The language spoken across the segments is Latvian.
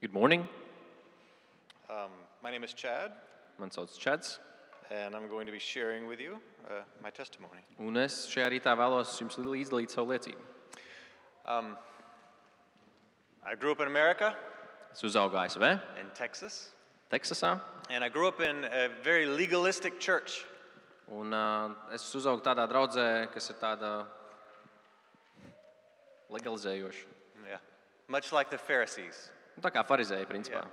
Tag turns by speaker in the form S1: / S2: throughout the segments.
S1: Good morning.
S2: Um, my name is Chad,
S1: Mans sauc Čads,
S2: and I'm going to be sharing with you uh, my testimony.
S1: un es šajā rītā vēlos jums li- izdalīt savu liecību.
S2: Um, I grew up in America,
S1: Es uzaugu ASV,
S2: in Texas,
S1: Teksasā,
S2: and I grew up in a very legalistic church.
S1: un uh, es uzaugu tādā draudzē, kas ir tāda legalizējoša.
S2: Yeah. Much like the Pharisees.
S1: Nu, tā kā farizēja, principā.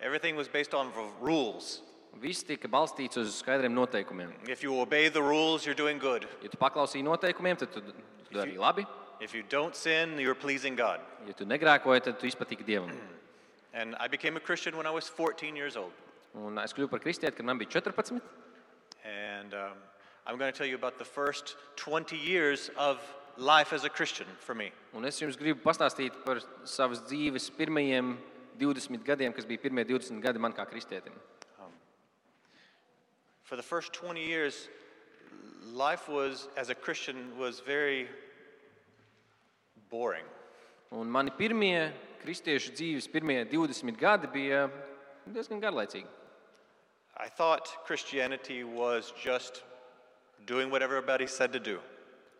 S2: Everything was based on r- rules.
S1: Viss tika balstīts uz skaidriem noteikumiem.
S2: If you obey the rules, you're doing good.
S1: Ja tu paklausīji noteikumiem, tad tu, tu darīji labi.
S2: If you don't sin, you're pleasing God.
S1: Ja tu negrēkoji, tad tu izpatiki dievam.
S2: And I became a Christian when I was 14 years old.
S1: Un es kļuvu par kristieti, kad man bija 14.
S2: And um, I'm going to tell you about the first 20 years of life as a Christian for me.
S1: Un es jums gribu pastāstīt par savas dzīves pirmajiem 20 gadiem, kas bija pirmie 20 gadi man kā kristietim.
S2: For the first 20 years, life was, as a Christian, was very boring.
S1: Un mani pirmie kristiešu dzīves pirmie 20 gadi bija diezgan garlaicīgi.
S2: I thought Christianity was just doing what everybody said to do.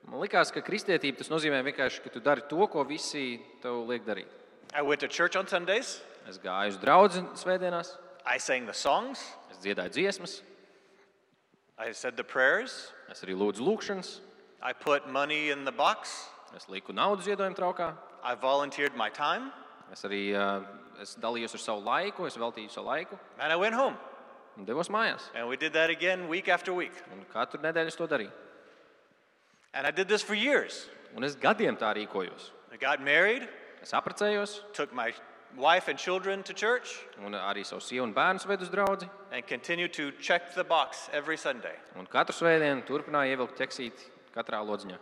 S1: Man liekas, ka kristietība tas nozīmē vienkārši, ka tu dari to, ko visi tev liek darīt.
S2: I went to church on Sundays,
S1: Es gāju uz draugu svētdienās,
S2: I sang the songs,
S1: es dziedāju dziesmas,
S2: I said the prayers,
S1: es arī lūdzu lūgšanas,
S2: I put money in the box,
S1: es lieku naudu ziedojumu traukā,
S2: I volunteered my time,
S1: es arī uh, es dalījos ar savu laiku, es veltīju savu laiku
S2: and I went home.
S1: un devos mājās.
S2: And we did that again week after week.
S1: Un katru nedēļu es to darīju.
S2: And I did this for years.
S1: Un es gadiem tā rīkojos.
S2: I got married,
S1: Es apprecējos,
S2: took my wife and children to church,
S1: un arī savu sievu un bērnu svedu uz draugu.
S2: and continued to check the box every Sunday.
S1: Un katru svētdienu turpināju ievilkt teksīti katrā lodziņā.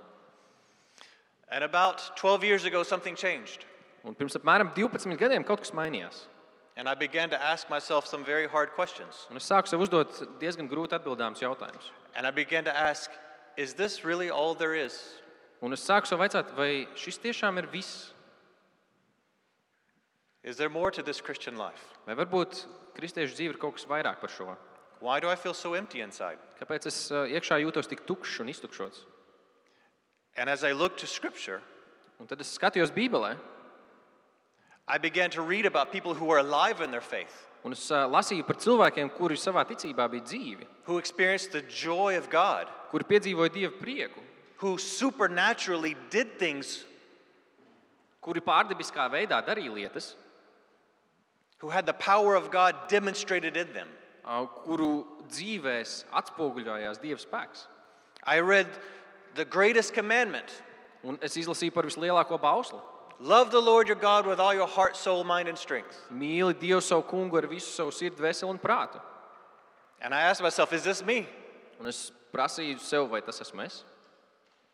S2: And about 12 years ago, something changed.
S1: Un pirms apmēram 12 gadiem kaut kas mainījās.
S2: And I began to ask myself some very hard questions.
S1: Un es sāku sev uzdot diezgan grūti atbildāmus jautājumus.
S2: And I began to ask, is this really all there is?
S1: Un es sāku sev jautāt, vai šis tiešām ir viss,
S2: Is there more to this Christian life?
S1: vai varbūt kristiešu dzīve ir kaut kas vairāk par šo.
S2: Why do I feel so empty inside?
S1: Kāpēc es eh, iekšā jūtos tik tukšs un iztukšots?
S2: And as I looked to Scripture,
S1: Un tad es skatījos Bībelē,
S2: I began to read about people who were alive in their faith,
S1: un es eh, lasīju par cilvēkiem, kuri savā ticībā bija dzīvi,
S2: who experienced the joy of God,
S1: kuri piedzīvoja dievu prieku,
S2: who supernaturally did things,
S1: kuri pārdabiskā veidā darīja lietas,
S2: who had the power of God demonstrated in them.
S1: uh, kuru dzīvēs atspoguļojās Dieva spēks.
S2: I read the greatest commandment
S1: Un es izlasīju par vislielāko bausli.
S2: love the Lord your God with all your heart, soul, mind, and strength.
S1: Mīli Dievu savu kungu ar visu savu sirdi, veselu un prātu.
S2: And I asked myself, is this me?
S1: Un es prasīju sev, vai tas esmu es.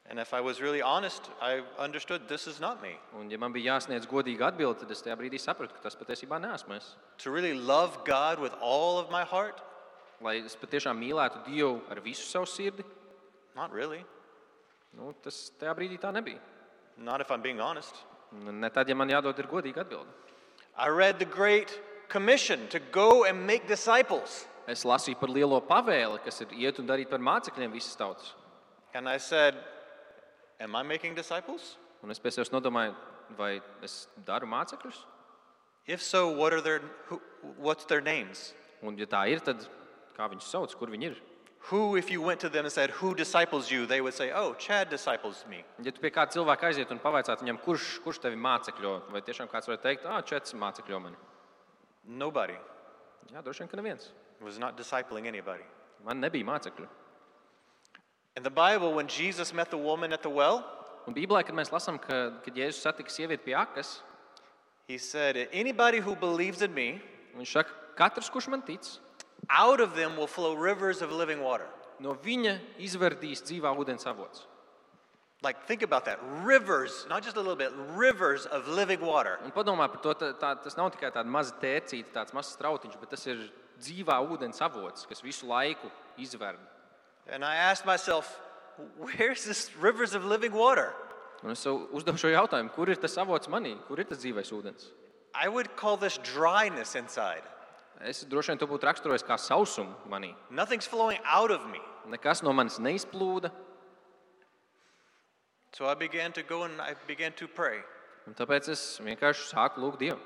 S2: And if I was really honest, I understood this is not me.
S1: Un, ja man bija jāsniedz godīga atbilde, tad es tajā brīdī sapratu, ka tas patiesībā neesmu es.
S2: To really love God with all of my heart?
S1: Lai es patiešām mīlētu Dievu ar visu savu sirdi,
S2: Not really.
S1: nu, tas tajā brīdī tā nebija.
S2: Not if I'm being honest.
S1: Un Ne tad, ja man jādod ir godīga atbilde.
S2: I read the Great Commission to go and make disciples.
S1: Es lasīju par lielo pavēli, kas ir iet un darīt par mācekļiem visas tautas.
S2: And I said, Am I making disciples?
S1: Un es pie sevis nodomāju, vai es daru mācekļus?
S2: If so, what are their, who, what's their names?
S1: Un, ja tā ir, tad kā viņus sauc, kur viņi ir?
S2: Who, if you went to them and said, Who disciples you? they would say, Oh, Chad disciples me.
S1: Ja tu pie kāda cilvēka aiziet un pavaicātu viņam, kurš, kurš tevi mācekļo, vai tiešām kāds var teikt, ah, četri mācekļo mani?
S2: Nobody
S1: Jā, droši vien, ka neviens.
S2: was not discipling anybody.
S1: Man nebija mācekļu.
S2: In the Bible, when Jesus met the woman at the well,
S1: Un Bībelē, kad mēs lasām, ka, kad Jēzus satika sievieti pie akas,
S2: he said, Anybody who believes in me,
S1: viņš saka, katrs, kurš man tic,
S2: out of them will flow rivers of living water.
S1: no viņa izverdīs dzīvā ūdens avots.
S2: Like, think about that. Rivers, not just a little bit, rivers of living water.
S1: Un padomā par to, tā, tā, tas nav tikai tāds mazs tērcītis, tāds mazs strautiņš, bet tas ir dzīvā ūdens avots, kas visu laiku izverd.
S2: And I asked myself, Where's this rivers of living water?
S1: Un es sev uzdevu šo jautājumu, kur ir tas avots manī, kur ir tas dzīvais ūdens?
S2: I would call this dryness inside.
S1: Es droši vien to būtu raksturojis kā sausumu manī.
S2: Nothing's flowing out of me.
S1: Nekas no manis neizplūda,
S2: So I began to go and I began to pray.
S1: un tāpēc es vienkārši sāku lūgt Dievu.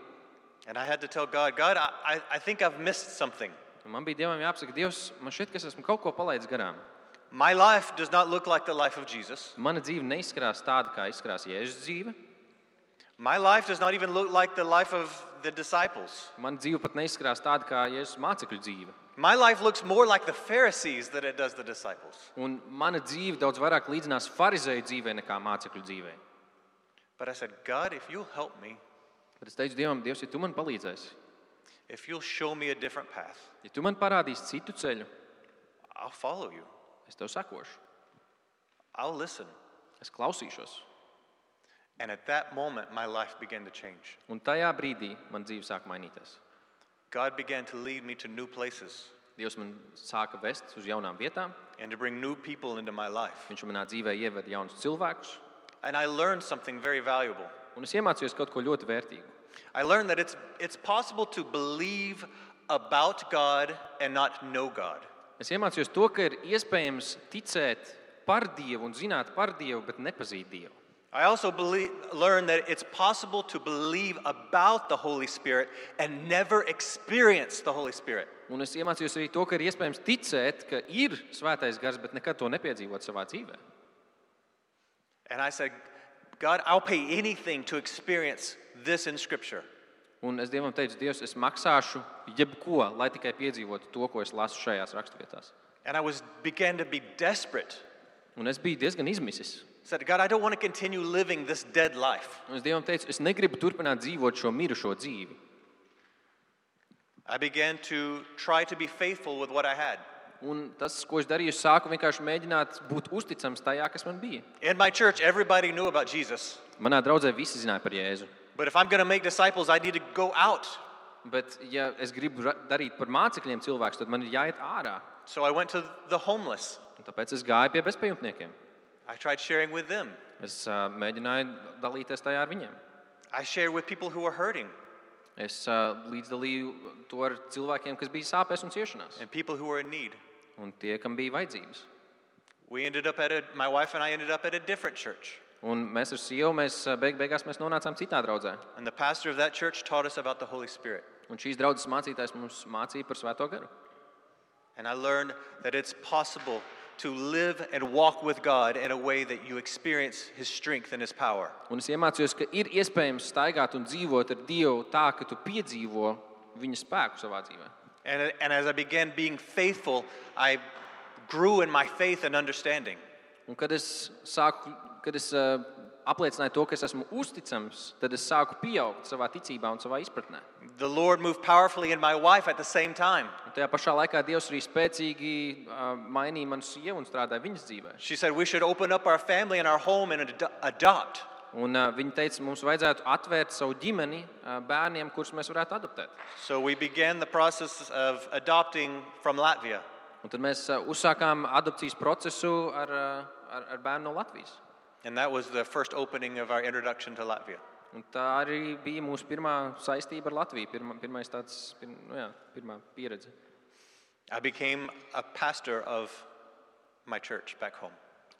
S2: And I had to tell God, God, I, I, I think I've missed something.
S1: Un man bija Dievam jāapsaka, Dievs, man šķiet, ka es esmu kaut ko palaidis garām.
S2: My life does not look like the life of Jesus.
S1: Mana dzīve neizskrās tāda, kā izskrās Jēzus dzīve.
S2: My life does not even look like the life of the disciples.
S1: Mana dzīve pat neizskrās tāda, kā Jēzus mācekļu dzīve.
S2: My life looks more like the Pharisees than it does the disciples.
S1: Un mana dzīve daudz vairāk līdzinās farizēju dzīvē nekā mācekļu dzīvē.
S2: But I said, God, if you'll help me,
S1: Tad es teicu Dievam, Dievs, ja tu man palīdzēsi,
S2: if you'll show me a different path,
S1: ja tu man parādīsi citu ceļu,
S2: I'll follow you.
S1: es tev sekošu,
S2: I'll listen.
S1: es klausīšos.
S2: And at that moment, my life began to change.
S1: Un tajā brīdī man dzīve sāk mainīties.
S2: God began to lead me to new places
S1: Dievs man sāka vest uz jaunām vietām,
S2: and to bring new people into my life.
S1: Viņš manā dzīvē ieveda jaunus cilvēkus,
S2: And I learned something very valuable.
S1: un es iemācījos kaut ko ļoti vērtīgu.
S2: I learned that it's, it's possible to believe about God and not know God.
S1: Es iemācījos to, ka ir iespējams ticēt par Dievu un zināt par Dievu, bet nepazīt Dievu.
S2: I also believe, learned that it's possible to believe about the Holy Spirit and never experience the Holy Spirit.
S1: Un es iemācījos arī to, ka ir iespējams ticēt, ka ir svētais gars, bet nekad to nepiedzīvot savā dzīvē.
S2: And I said, God, I'll pay anything to experience this in Scripture.
S1: Un es Dievam teicu, Dievs, es maksāšu jebko, lai tikai piedzīvotu to, ko es lasu šajās raksturvietās.
S2: And I was, began to be desperate.
S1: Un es biju diezgan izmisis.
S2: Said, God, I don't want to continue living this dead life.
S1: Un es Dievam teicu, es negribu turpināt dzīvot šo mirušo dzīvi.
S2: I began to try to be faithful with what I had.
S1: Un tas, ko es darīju, es sāku vienkārši mēģināt būt uzticams tajā, kas man bija.
S2: In my church, everybody knew about Jesus.
S1: Manā draudzē visi zināja par Jēzu.
S2: But if I'm going to make disciples, I need to go out.
S1: Bet, ja es gribu ra- darīt par mācekļiem cilvēkus, tad man ir jāiet ārā.
S2: So I went to the homeless.
S1: Un tāpēc es gāju pie bezpajumtniekiem.
S2: I tried sharing with them.
S1: Es uh, mēģināju dalīties tajā ar viņiem.
S2: I shared with people who were hurting
S1: Es uh, līdzdalīju to ar cilvēkiem, kas bija sāpēs un ciešanās,
S2: and people who were in need.
S1: un tie, kam bija vajadzības.
S2: We ended up at a, my wife and I ended up at a different church.
S1: Un mēs ar sievu mēs, uh, beig beigās mēs nonācām citā draudzē.
S2: And the pastor of that church taught us about the Holy Spirit.
S1: Un šīs draudzes mācītājs mums mācīja par Svēto garu.
S2: And I learned that it's possible to live and walk with God in a way that you experience His strength and His power.
S1: Un es iemācījos, ka ir iespējams staigāt un dzīvot ar Dievu tā, ka tu piedzīvo viņa spēku savā dzīvē.
S2: And, and as I began being faithful, I grew in my faith and understanding.
S1: Un kad es, sāku, kad es uh, apliecināju to, ka es esmu uzticams, tad es sāku pieaugt savā ticībā un savā izpratnē.
S2: The Lord moved powerfully in my wife at the same time.
S1: Un tajā pašā laikā Dievs arī spēcīgi uh, mainīja manu sievu un strādāja viņas dzīvē.
S2: She said, We should open up our family and our home and ad- adopt.
S1: Un, uh, viņa teica, mums vajadzētu atvērt savu ģimeni uh, bērniem, kurus mēs varētu adoptēt.
S2: So we began the process of adopting from Latvia.
S1: Un tad mēs uh, uzsākām adopcijas procesu ar, uh, ar, ar bērnu no Latvijas.
S2: And that was the first opening of our introduction to Latvia.
S1: Un tā arī bija mūsu pirmā saistība ar Latviju, pirmā, pirmais tāds, pir, nu jā, pirmā pieredze.
S2: I became a pastor of my church back home.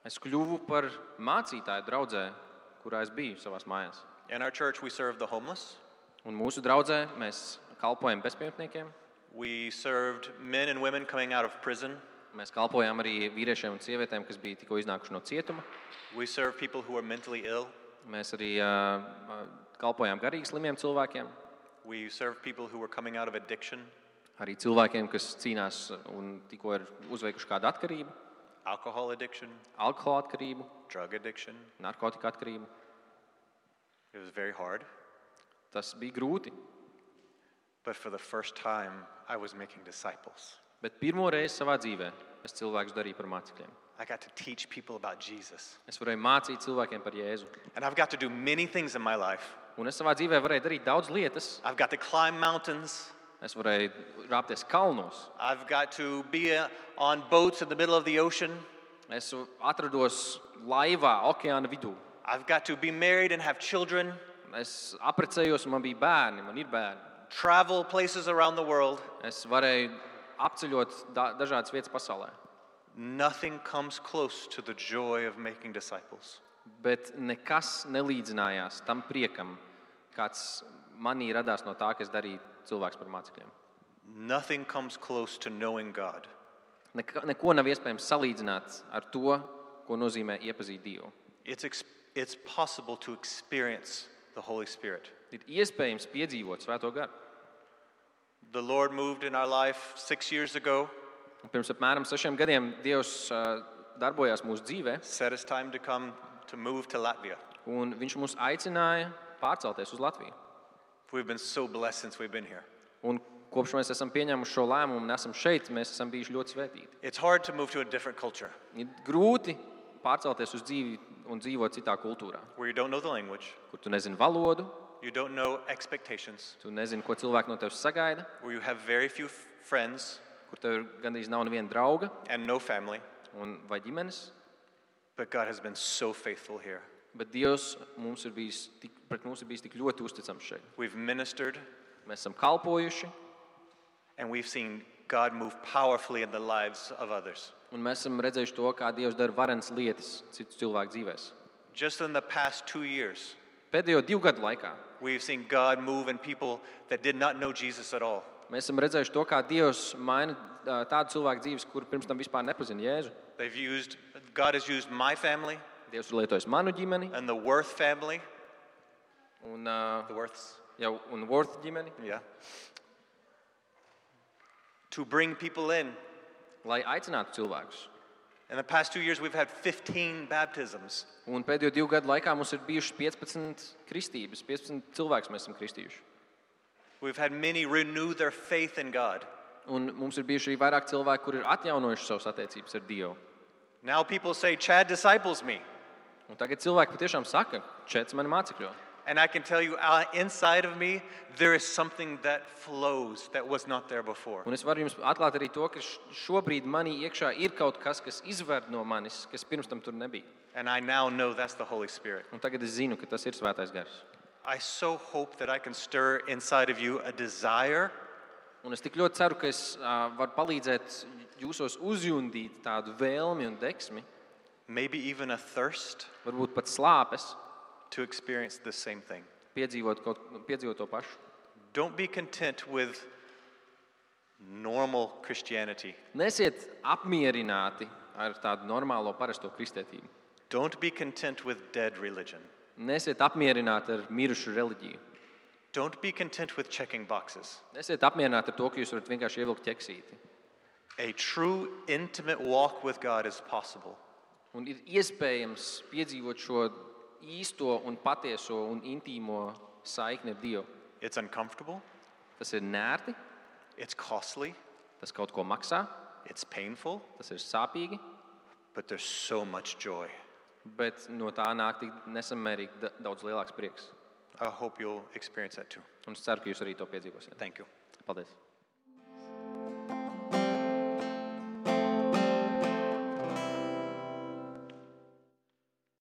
S1: Es kļuvu par mācītāju draugu, kurā es biju savā mājās.
S2: In our church, we serve the homeless.
S1: Un mūsu draugā mēs kalpojam bezpajumtniekiem,
S2: We served men and women coming out of prison.
S1: mēs kalpojam arī vīriešiem un sievietēm, kas bija tikko iznākuši no cietuma.
S2: We serve people who are mentally ill.
S1: Mēs arī uh, kalpojam garīgi slimiem cilvēkiem,
S2: We serve people who were coming out of addiction,
S1: arī cilvēkiem, kas cīnās un tikko ir uzveikuši kādu atkarību,
S2: alcohol addiction,
S1: alkohola atkarību,
S2: drug addiction.
S1: narkotiku atkarību.
S2: It was very hard.
S1: Tas bija grūti.
S2: But for the first time, I was making disciples.
S1: Bet pirmo reizi savā dzīvē es cilvēkus darīju par mācekļiem.
S2: I got to teach people about Jesus.
S1: Es varēju mācīt cilvēkiem par Jēzu.
S2: And I've got to do many things in my life.
S1: Un es savā dzīvē varēju darīt daudz lietas.
S2: I've got to climb mountains.
S1: Es varēju rāpties kalnos.
S2: I've got to be uh, on boats in the middle of the ocean.
S1: Es atrados laivā, okeāna vidū.
S2: I've got to be married and have children.
S1: Es apprecējos, un man bija bērni, man ir bērni.
S2: travel places around the world.
S1: Es varēju apceļot da dažādas vietas pasaulē.
S2: Nothing comes close to the joy of making disciples.
S1: Bet nekas nelīdzinājās tam priekam, kāds manī radās no tā, kas darīja cilvēks par mācekļiem.
S2: Nothing comes close to knowing God.
S1: Neko, neko nav iespējams salīdzināt ar to, ko nozīmē iepazīt Dievu.
S2: It's, ex- it's possible to experience the Holy Spirit.
S1: Ir iespējams piedzīvot Svēto garu.
S2: The Lord moved in our life six years ago,
S1: Un Pirms apmēram sešiem gadiem Dievs ā, darbojās mūsu dzīvē,
S2: set his time to come to move to Latvia.
S1: un Viņš mūs aicināja pārcelties uz Latviju.
S2: We've been so blessed since we've been here.
S1: Un kopš mēs esam pieņēmuši šo lēmumu un esam šeit, mēs esam bijuši ļoti svētīti.
S2: It's hard to move to a different culture
S1: Ir grūti pārcelties uz dzīvi un dzīvot citā kultūrā,
S2: where you don't know the language,
S1: kur tu nezini valodu,
S2: you don't know expectations,
S1: tu nezini, ko cilvēki no tevis sagaida,
S2: where you have very few f- friends
S1: kur tev gandrīz nav neviena drauga
S2: and no family.
S1: un, vai ģimenes.
S2: But God has been so faithful here.
S1: Bet Dievs mums ir bijis tik, pret mums ir bijis tik ļoti uzticams šeit.
S2: We've ministered
S1: Mēs esam kalpojuši,
S2: and we've seen God move powerfully in the lives of others.
S1: un mēs esam redzējuši to, kā Dievs dara varenas lietas citu cilvēku dzīvēs.
S2: Just in the past two years,
S1: Pēdējo divu gadu laikā
S2: we've seen God move in people that did not know Jesus at all.
S1: mēs esam redzējuši to, kā Dievs maina ā, tādu cilvēku dzīves, kur pirms tam vispār nepazina Jēzu.
S2: They've used, God has used my family
S1: Dievs ir lietojis manu ģimeni,
S2: and the Worth family,
S1: un, uh,
S2: the Worths,
S1: jau, un Worth ģimeni,
S2: yeah, to bring people in.
S1: lai aicinātu cilvēkus.
S2: In the past two years, we've had 15 baptisms.
S1: Un pēdējo divu gadu laikā mums ir bijušas 15 kristības, 15 cilvēkus mēs esam kristījuši.
S2: We've had many renew their faith in God.
S1: Un mums ir bijuši arī vairāk cilvēku, kur ir atjaunojuši savas attiecības ar Dievu.
S2: Now people say, Chad disciples me.
S1: Un tagad cilvēki patiešām saka, četri mani mācekļi.
S2: And I can tell you, uh, inside of me, there is something that flows that was not there before.
S1: Un es varu jums atklāt arī to, ka š- šobrīd manī iekšā ir kaut kas, kas izver no manis, kas pirms tam tur nebija.
S2: And I now know that's the Holy Spirit.
S1: Un tagad es zinu, ka tas ir svētais gars.
S2: I so hope that I can stir inside of you a desire
S1: Un es tik ļoti ceru, ka es uh, varu palīdzēt jūsos uzjundīt tādu vēlmi un deksmi,
S2: maybe even a thirst
S1: varbūt pat slāpes,
S2: to experience the same thing.
S1: piedzīvot, kaut, piedzīvot to pašu.
S2: Don't be content with normal Christianity.
S1: Nesiet apmierināti ar tādu normālo, parasto kristētību.
S2: Don't be content with dead religion.
S1: Nesiet apmierināti ar mirušu reliģiju.
S2: Don't be content with checking boxes.
S1: Nesiet apmierināti ar to, ka jūs varat vienkārši ievilkt ķeksīti.
S2: A true intimate walk with God is possible.
S1: Un ir iespējams piedzīvot šo īsto un patieso un intīmo saikni ar Dievu.
S2: It's uncomfortable,
S1: Tas ir nērti,
S2: it's costly,
S1: tas kaut ko maksā,
S2: it's painful,
S1: tas ir sāpīgi,
S2: but there's so much joy.
S1: bet no tā nāk tik nesamērīgi da- daudz lielāks prieks.
S2: I hope you'll experience that too.
S1: Un es ceru, ka jūs arī to piedzīvosiet.
S2: Thank you.
S1: Paldies!